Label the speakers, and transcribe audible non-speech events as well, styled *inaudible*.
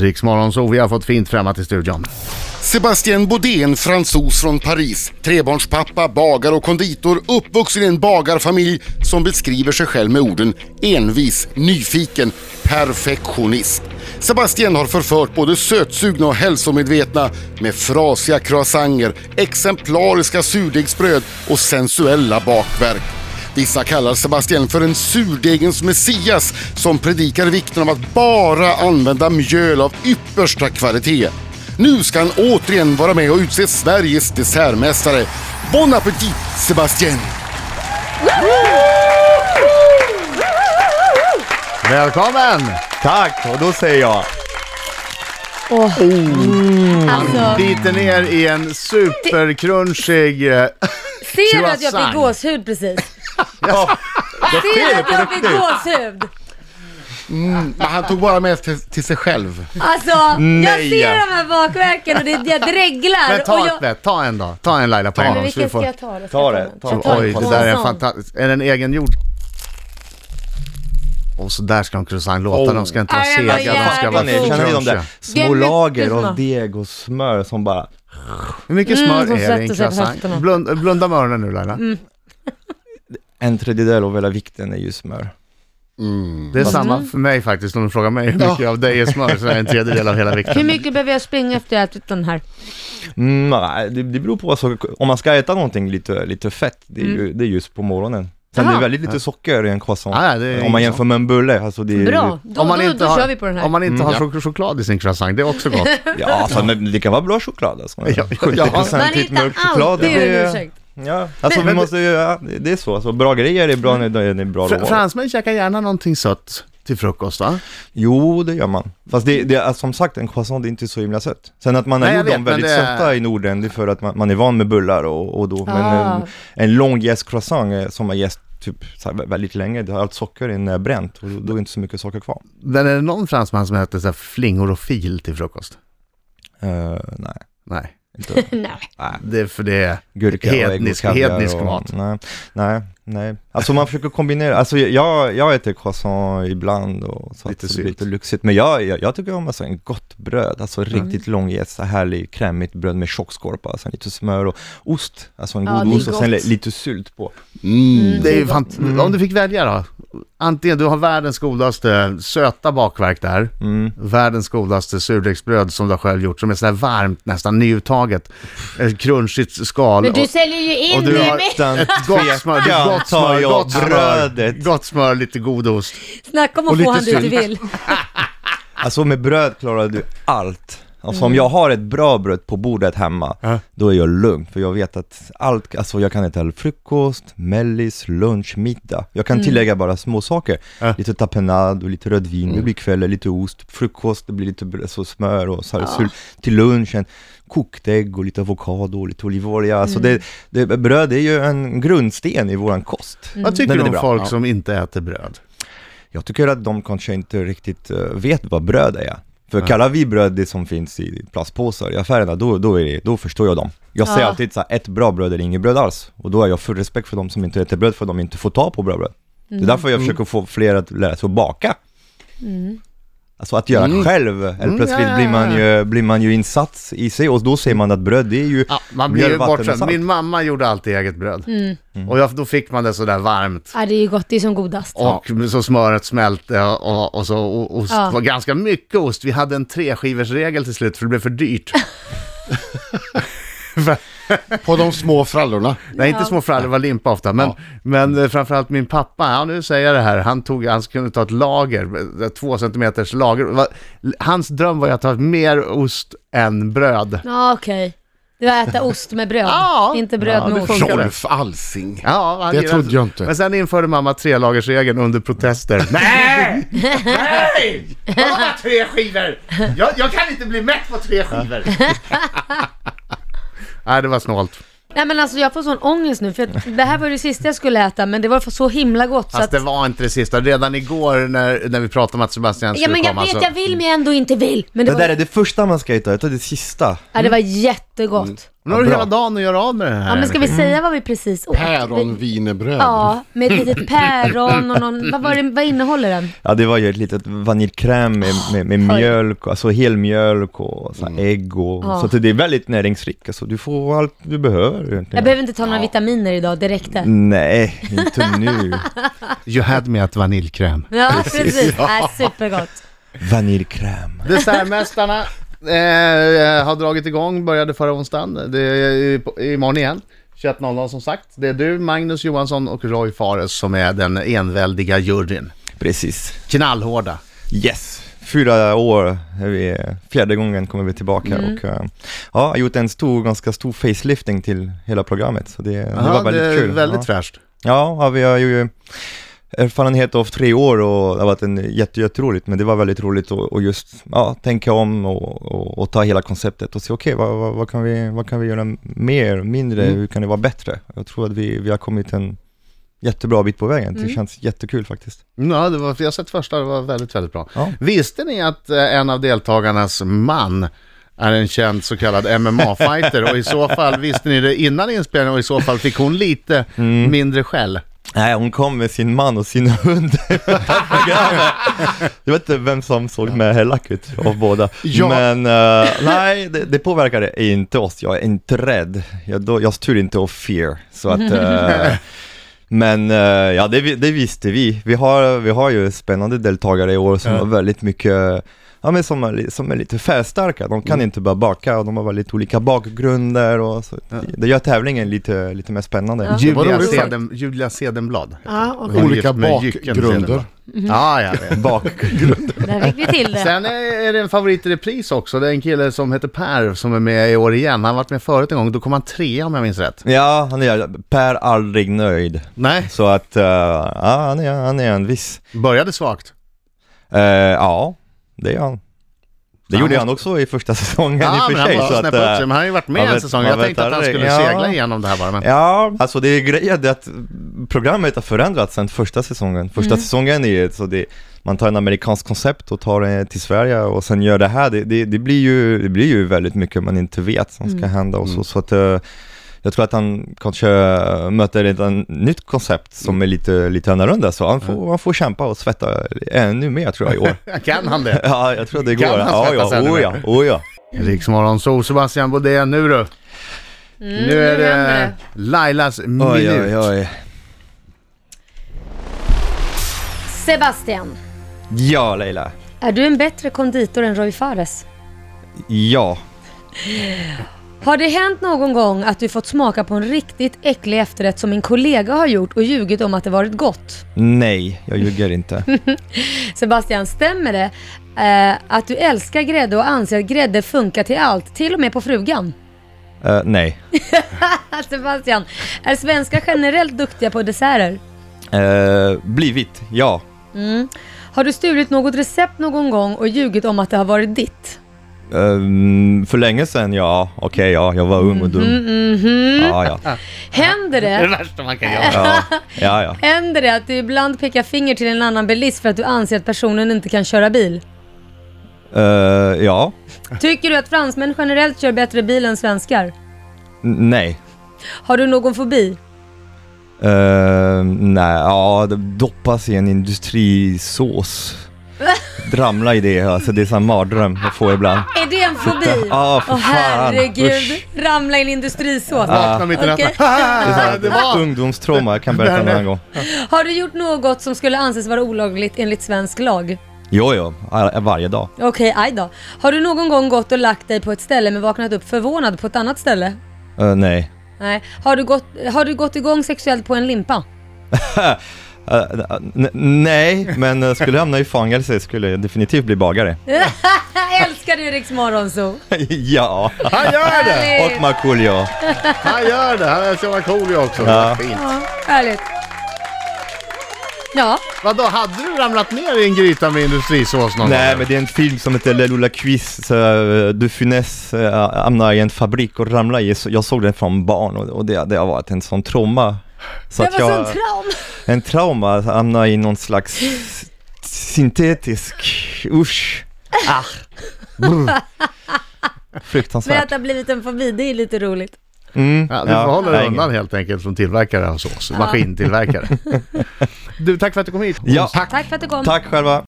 Speaker 1: Riksmorgon, så vi har fått fint främmat i studion.
Speaker 2: Sebastian Baudin, fransos från Paris, trebarnspappa, bagare och konditor, uppvuxen i en bagarfamilj som beskriver sig själv med orden envis, nyfiken, perfektionist. Sebastian har förfört både sötsugna och hälsomedvetna med frasiga croissanger, exemplariska surdegsbröd och sensuella bakverk. Vissa kallar Sebastian för en surdegens messias som predikar vikten av att bara använda mjöl av yppersta kvalitet. Nu ska han återigen vara med och utse Sveriges dessertmästare. Bon appétit Sebastian!
Speaker 1: Välkommen!
Speaker 3: Tack, och då säger jag
Speaker 1: Han
Speaker 4: Alltså,
Speaker 1: biter ner i en supercrunchig... eh,
Speaker 4: ser du att jag
Speaker 1: Croissant.
Speaker 4: fick gåshud precis?
Speaker 3: ja,
Speaker 4: Ser du att jag fick
Speaker 3: riktigt.
Speaker 4: gåshud?
Speaker 2: Mm, Men han tog bara med till, till sig själv.
Speaker 4: Alltså, jag
Speaker 3: Nej.
Speaker 4: ser de här bakverken och det, jag dreglar.
Speaker 1: Men
Speaker 4: och
Speaker 1: ta
Speaker 4: jag...
Speaker 1: ett bett, ta en då. Ta en Laila på en
Speaker 4: Men
Speaker 1: gång. så vi
Speaker 4: vilken
Speaker 1: får-
Speaker 4: ska jag ta då? Ska
Speaker 3: Ta
Speaker 4: jag
Speaker 3: det,
Speaker 4: den?
Speaker 3: ta
Speaker 4: Jag
Speaker 3: det.
Speaker 4: tar
Speaker 1: Oj,
Speaker 4: en
Speaker 1: det där är
Speaker 4: croissant.
Speaker 1: fantastiskt. Är den egengjord? Och så där ska en croissant låta.
Speaker 3: Oh.
Speaker 1: De ska inte vara
Speaker 4: Ja, den
Speaker 1: sega,
Speaker 4: var
Speaker 1: de ska
Speaker 4: jävligt
Speaker 1: vara
Speaker 4: god.
Speaker 3: ni känner ni de där
Speaker 1: crunchiga.
Speaker 3: små lager av deg och smör som bara
Speaker 1: Hur mycket
Speaker 4: Mm,
Speaker 1: smör
Speaker 4: som
Speaker 1: är det i en
Speaker 4: sätter sig på Mm. höfterna.
Speaker 1: croissant? Blund, blunda med öronen nu Laila.
Speaker 3: en tredjedel av hela vikten är ju smör.
Speaker 2: Mm.
Speaker 1: Det är samma för mig faktiskt. Om du frågar mig hur mycket av dig är smör så är det en tredjedel av hela
Speaker 4: Hur
Speaker 1: vikten.
Speaker 4: mycket behöver jag springa efter jag ätit den här?
Speaker 3: Mm, nej, det, det beror på, vad socker- om man ska äta någonting lite, lite fett, det är, ju, det är just på morgonen. Sen det
Speaker 4: Ah.
Speaker 3: är väldigt lite socker i en croissant,
Speaker 1: Ah, det är
Speaker 3: om man jämför med en bulle. Alltså det är,
Speaker 4: Bra, då,
Speaker 1: Om man
Speaker 4: då,
Speaker 1: inte
Speaker 4: då
Speaker 1: har-
Speaker 4: kör vi på den här.
Speaker 1: Om man inte har
Speaker 2: ja.
Speaker 1: chok- choklad i sin croissant, det är också gott.
Speaker 3: Ja, alltså, men det kan vara bra choklad alltså.
Speaker 1: Ja,
Speaker 3: 70% typ mörk choklad.
Speaker 4: alltid
Speaker 3: det
Speaker 4: en
Speaker 3: är-
Speaker 4: ursäkt.
Speaker 3: Ja, alltså
Speaker 1: Men-
Speaker 3: vi
Speaker 1: men-
Speaker 3: måste ju, ja, det det är så, alltså, bra grejer är bra när det är bra
Speaker 1: *laughs* Fr-
Speaker 3: råvaror.
Speaker 1: Fransmän käkar gärna någonting sött till frukost va?
Speaker 3: Jo, det gör man. Fast det, det är, som sagt, en croissant det är inte så himla sött. Sen att man har
Speaker 1: Nej, jag
Speaker 3: gjort
Speaker 1: vet,
Speaker 3: dem
Speaker 1: men
Speaker 3: väldigt
Speaker 1: det är-
Speaker 3: söta i Norden, det är för att man, man är van med bullar och, och då. Men
Speaker 4: Ah.
Speaker 3: en, en lång jäst croissant eh, som har jäst typ så här, vä- väldigt länge, det har allt socker in eh, bränt och då är inte så mycket socker kvar.
Speaker 1: Men är det någon fransman som äter så här flingor och fil till frukost?
Speaker 3: Eh, nej,
Speaker 1: Nej,
Speaker 3: inte.
Speaker 4: Nej.
Speaker 1: det är för det är...
Speaker 3: Gurka och ägg och
Speaker 1: Hednisk-
Speaker 3: kaviar
Speaker 1: hednisk
Speaker 3: och,
Speaker 1: mat.
Speaker 3: Nej, nej, nej. Alltså man försöker kombinera, alltså jag, jag äter croissant ibland och
Speaker 1: Lite
Speaker 3: så lite, att det
Speaker 1: sylt. Mm.
Speaker 3: blir lite lyxigt. Men jag, jag, jag tycker om alltså en gott bröd, alltså riktigt långjäst, så härlig krämigt bröd med tjockskorpa, sen lite smör och ost, alltså en
Speaker 4: Ja,
Speaker 3: god
Speaker 4: det är
Speaker 3: ost och sen
Speaker 4: gott.
Speaker 3: li- lite sylt på.
Speaker 2: Mm.
Speaker 1: Det är ju fant-
Speaker 3: Mm.
Speaker 1: Om du fick välja då? Antingen, du har världens godaste söta bakverk där,
Speaker 3: Mm.
Speaker 1: världens godaste surdegsbröd som du har själv gjort, som är sådär varmt, nästan nyuttaget, eh, crunchigt skal.
Speaker 4: Men du
Speaker 1: och-
Speaker 4: säljer ju in
Speaker 1: och du
Speaker 4: det
Speaker 1: har-
Speaker 4: med
Speaker 3: Utan
Speaker 1: Gott smör,
Speaker 3: tvekan
Speaker 1: gott
Speaker 3: tar
Speaker 1: smör,
Speaker 3: jag
Speaker 1: gott smör,
Speaker 3: brödet.
Speaker 1: gott smör, lite god ost.
Speaker 4: Snacka om
Speaker 3: Och
Speaker 4: att
Speaker 3: lite
Speaker 4: få han dit du
Speaker 3: sylt.
Speaker 4: vill.
Speaker 3: Alltså med bröd klarar du allt. Alltså om jag har ett bra bröd på bordet hemma, då är jag lugn. För jag vet att allt, alltså jag kan äta frukost, mellis, lunch, middag. Jag kan tillägga bara små saker. Lite tapenade och lite rödvin, det blir kväll, lite ost, frukost, det blir lite br- så smör och så här, sylt. Till lunchen, kokt ägg och lite avokado och lite olivolja. Alltså det, det, bröd är ju en grundsten i våran kost.
Speaker 1: Vad tycker
Speaker 3: Den
Speaker 1: du
Speaker 3: är
Speaker 1: om
Speaker 3: bra.
Speaker 1: folk
Speaker 3: Ja.
Speaker 1: som inte äter bröd?
Speaker 3: Jag tycker att de kanske inte riktigt eh, vet vad bröd är. För kallar vi bröd det som finns i plastpåsar i affärerna, då, då, är det, då förstår jag dem. Jag säger
Speaker 4: Ja.
Speaker 3: alltid så här, ett bra bröd eller inget bröd alls. Och då är jag full respekt för de som inte äter bröd, för de inte får ta på bra bröd. Det är därför
Speaker 1: Mm.
Speaker 3: jag försöker få fler att lära sig att baka. Alltså att göra själv, eller plötsligt
Speaker 1: Mm. ja, ja,
Speaker 3: blir, man ju, blir man ju insats i sig och då ser man att bröd det är ju
Speaker 1: Ja, man blir ju Mm.
Speaker 3: mjöl, vatten och
Speaker 1: bortskämd.
Speaker 3: salt.
Speaker 1: Min mamma gjorde alltid eget bröd. Och jag, då fick man det sådär varmt.
Speaker 4: Ja, det är ju gott, det är som godast.
Speaker 1: Och så smöret smälte och, och så o- ost.
Speaker 4: Ja.
Speaker 1: var ganska mycket ost. Vi hade en treskiversregel till slut för det blev för dyrt.
Speaker 2: På de små frallorna.
Speaker 1: Nej, inte små frallor, det var limpa ofta. Men, men eh, framförallt min pappa, ja, nu säger jag det här, han, tog, han kunde ta ett lager, eh, två centimeters lager. Det var- Hans dröm var ju att ta mer ost än bröd.
Speaker 4: Ja, okej. Det var att äta ost med bröd,
Speaker 1: Ja.
Speaker 4: inte bröd
Speaker 1: Ja, det
Speaker 4: med ost.
Speaker 1: funkar.
Speaker 2: Rolf Alsing.
Speaker 1: Ja, han
Speaker 2: Det
Speaker 1: gillade-
Speaker 2: trodde jag inte.
Speaker 1: Men sen införde mamma trelagersregeln under
Speaker 2: *laughs*
Speaker 1: protester. Nej! Nej! Det var bara tre skivor! Jag, jag kan inte bli mätt på tre skivor! *laughs* Nej, det var snålt.
Speaker 4: Nej men alltså jag får sån ångest nu för att det här var ju det sista jag skulle äta men det var för så himla gott så
Speaker 1: Fast
Speaker 4: att...
Speaker 1: det var inte det sista. Redan igår när, när vi pratade om att Sebastian
Speaker 4: Ja
Speaker 1: skulle
Speaker 4: men jag
Speaker 1: komma
Speaker 4: vet,
Speaker 1: så...
Speaker 4: jag vill men jag ändå inte vill. Men det,
Speaker 3: Det
Speaker 4: var...
Speaker 3: där är det första man ska äta, äta det sista.
Speaker 4: Ja, det var jättegott. jättegott.
Speaker 1: Nu har du
Speaker 3: Ja,
Speaker 1: hela
Speaker 3: bra.
Speaker 1: dagen att göra av med den här.
Speaker 4: Ja, men ska vi säga vad vi precis åt? Vi-
Speaker 2: Päronvinerbröd.
Speaker 4: Ja, med ett litet päron och någon, vad, var det, vad innehåller den?
Speaker 3: Ja det var ju ett litet vaniljkräm med, med, med
Speaker 4: Oj.
Speaker 3: mjölk, alltså helmjölk och så här
Speaker 1: Mm.
Speaker 3: ägg och
Speaker 4: Ja.
Speaker 3: så att det är väldigt näringsrikt alltså, du får allt du behöver egentligen
Speaker 4: Jag behöver inte ta några vitaminer idag, det
Speaker 1: Mm.
Speaker 4: räckte.
Speaker 3: Nej, inte
Speaker 4: *laughs*
Speaker 3: nu.
Speaker 1: You had me at vaniljkräm.
Speaker 4: Ja, precis. Ja. supergott.
Speaker 3: Vaniljkräm.
Speaker 1: Dessertmästarna eh, har dragit igång, började förra onsdagen. Det är i- imorgon igen. 21.00 som sagt. Det är du, Magnus Johansson och Roy Fares som är den enväldiga juryn.
Speaker 3: Precis.
Speaker 1: Knallhårda.
Speaker 3: Yes, fyra år, är vi, fjärde gången kommer vi tillbaka
Speaker 4: Mm.
Speaker 3: och eh, ja, har gjort en stor, ganska stor facelifting till hela programmet. Så det, det var
Speaker 1: Aha,
Speaker 3: väldigt
Speaker 1: det är
Speaker 3: kul.
Speaker 1: Väldigt
Speaker 3: ja.
Speaker 1: fräscht.
Speaker 3: Ja, ja, vi har ju erfarenhet av tre år och det har varit en jätte, jätteroligt, men det var väldigt roligt att och just ja, tänka om och, och, och ta hela konceptet och se okej, vad, vad, vad, kan vi, vad kan vi göra mer, mindre, hur kan det vara bättre? Jag tror att vi, vi har kommit en jättebra bit på vägen, det känns jättekul faktiskt.
Speaker 1: Ja, det var, jag har sett första, det var väldigt, väldigt bra.
Speaker 3: Ja.
Speaker 1: Visste ni att eh, en av deltagarnas man är en känd så kallad MMA-fighter och i så fall visste ni det innan inspelningen och i så fall fick hon lite mindre skäll.
Speaker 3: Nej, hon kom med sin man och *laughs* sin hund. jag vet inte vem som såg mer elak ut av båda.
Speaker 2: Ja.
Speaker 3: Men eh, nej, det, det påverkade inte oss. Jag är inte rädd. Jag, då, jag styr inte av fear. Så att, eh, men eh, ja, det, vi- det visste vi. Vi har, vi har ju spännande deltagare i år som har väldigt mycket Ja men som är, li- som är lite färgstarka, de kan inte bara baka och de har väldigt olika bakgrunder och så. Det gör tävlingen lite, lite mer spännande.
Speaker 2: Vad
Speaker 1: Julia,
Speaker 2: roligt.
Speaker 1: Seden, Julia Sedenblad.
Speaker 4: Ja,
Speaker 1: Hon
Speaker 4: och
Speaker 1: är
Speaker 2: Olika
Speaker 1: gift med Jycken
Speaker 2: bakgrunder.
Speaker 1: Sedenblad. Ja, jag vet.
Speaker 3: *laughs* Bakgrund.
Speaker 4: där fick vi till Mm-hmm. *laughs* det.
Speaker 1: Sen är det en favorit i repris också. Det är en kille som heter Per som är med i år igen. Han har varit med förut en gång, då kom han trea om jag minns rätt.
Speaker 3: Ja, han är Per aldrig nöjd.
Speaker 1: Nej,
Speaker 3: Så att, eh, ja, han är, han är envis.
Speaker 1: började
Speaker 3: *laughs*
Speaker 1: svagt.
Speaker 3: Eh, ja, det är han. Det
Speaker 1: Han
Speaker 3: gjorde han
Speaker 1: måste-
Speaker 3: också i första *laughs* säsongen
Speaker 1: Ja,
Speaker 3: i
Speaker 1: men
Speaker 3: och för
Speaker 1: han
Speaker 3: sig.
Speaker 1: måste
Speaker 3: så att,
Speaker 1: snäppa upp
Speaker 3: eh,
Speaker 1: sig. Men han har ju varit med
Speaker 3: man
Speaker 1: en
Speaker 3: vet-
Speaker 1: säsong.
Speaker 3: man
Speaker 1: Jag
Speaker 3: vet
Speaker 1: tänkte att han
Speaker 3: aldrig.
Speaker 1: skulle
Speaker 3: Ja.
Speaker 1: segla igenom det här bara. Men...
Speaker 3: Ja, alltså det är grejen det är att programmet har förändrats sedan första säsongen. Första säsongen är ju så det, man tar en amerikansk koncept och tar det till Sverige och sen gör det här. Det, det, det, blir, ju, det blir ju väldigt mycket man inte vet som ska hända och
Speaker 1: Mm.
Speaker 3: så. så att, eh, jag tror att han kanske möter ett an- nytt koncept
Speaker 1: Mm.
Speaker 3: som är lite, lite annorlunda så han får, han får kämpa och svetta ännu mer tror jag i
Speaker 1: *laughs*
Speaker 3: år.
Speaker 1: Kan han det?
Speaker 3: ja, jag tror det går.
Speaker 1: Kan han
Speaker 3: Ja,
Speaker 1: svettas
Speaker 3: ja,
Speaker 1: ännu
Speaker 3: oh,
Speaker 1: mer?
Speaker 3: ja, oh, ja.
Speaker 1: Riksmorgon, så Sebastian Bodén, nu du. nu är
Speaker 4: Mm, nu händer
Speaker 1: det
Speaker 4: det.
Speaker 1: Lailas minut.
Speaker 3: Oj, oj, oj.
Speaker 4: Sebastian,
Speaker 3: Ja, Leila.
Speaker 4: är du en bättre konditor än Roy Fares?
Speaker 3: Ja.
Speaker 4: Har det hänt någon gång att du fått smaka på en riktigt äcklig efterrätt som en kollega har gjort och ljugit om att det varit gott?
Speaker 3: Nej, jag ljuger inte.
Speaker 4: Sebastian, stämmer det eh, att du älskar grädde och anser att grädde funkar till allt, till och med på frugan? *laughs*
Speaker 3: Eh, nej.
Speaker 4: Sebastian, är svenskar generellt duktiga på desserter?
Speaker 3: Eh, blivit, ja.
Speaker 4: Har du stulit något recept någon gång och ljugit om att det har varit ditt?
Speaker 3: Ehm, för länge sedan, ja. Okej, ja. Jag var ung och dum.
Speaker 4: Mm-hmm,
Speaker 3: Ja, ja.
Speaker 4: Händer
Speaker 1: Det är
Speaker 4: det,
Speaker 1: det värsta man kan göra.
Speaker 3: Ja, ja. ja.
Speaker 4: händer det att du ibland pekar finger till en annan bilist för att du anser att personen inte kan köra bil?
Speaker 3: Eh, ja.
Speaker 4: Tycker du att fransmän generellt kör bättre bil än svenskar?
Speaker 3: N- nej.
Speaker 4: Har du någon fobi?
Speaker 3: Eh, nej, ja. det Doppas i en industrisås. Ramla i det, alltså det är en mardröm jag får ibland.
Speaker 4: Är det en fobi?
Speaker 3: Ja, för
Speaker 4: Åh
Speaker 3: fan.
Speaker 4: herregud,
Speaker 3: Usch.
Speaker 4: ramla i en industrisås.
Speaker 1: Vakna mitt i natten. *laughs*
Speaker 4: Okej.
Speaker 1: Ah, Det
Speaker 3: *laughs*
Speaker 1: var...
Speaker 3: Ungdomstrauma, jag kan berätta en annan gång.
Speaker 4: Har du gjort något som skulle anses vara olagligt enligt svensk lag?
Speaker 3: Jo, jo. Ar- Varje dag.
Speaker 4: Okej, aj då. Har du någon gång gått och lagt dig på ett ställe men vaknat upp förvånad på ett annat ställe?
Speaker 3: Eh, nej.
Speaker 4: Nej. Har du gått, har du gått igång sexuellt på en limpa? *laughs*
Speaker 3: Eh, n- nej, men eh, skulle jag hamna i fängelse skulle jag definitivt bli bagare. *laughs*
Speaker 4: Älskar du Riks Morgonzoo?
Speaker 3: ja.
Speaker 1: Han gör det!
Speaker 3: Och Markoolio.
Speaker 1: Han gör det! Han är så Markoolio också.
Speaker 3: Ja.
Speaker 1: Fint.
Speaker 4: Ja, härligt. Ja,
Speaker 1: Vadå, hade du ramlat ner i en gryta med industrisås någon
Speaker 3: Nej
Speaker 1: gång?
Speaker 3: men det är en film som heter Lelula Quiz, så, eh, de Funès eh, hamnar i en fabrik och ramlar i, så jag såg den från barn och, och det, det har varit en sån trauma. Så
Speaker 4: det var
Speaker 3: att jag,
Speaker 4: sån traum.
Speaker 3: en trauma, att hamna i någon slags syntetisk, usch, ah. Brr.
Speaker 4: Men att
Speaker 3: Fruktansvärt.
Speaker 4: det har blivit en fobi, det är lite roligt.
Speaker 3: Mm,
Speaker 1: Ja, du får hålla dig
Speaker 3: nej,
Speaker 1: undan helt enkelt från
Speaker 3: *laughs*
Speaker 1: tillverkare av sås, maskintillverkare. Du, tack för att du kom hit.
Speaker 3: Ja.
Speaker 1: Tack.
Speaker 4: Tack för att du kom.
Speaker 3: Tack själva.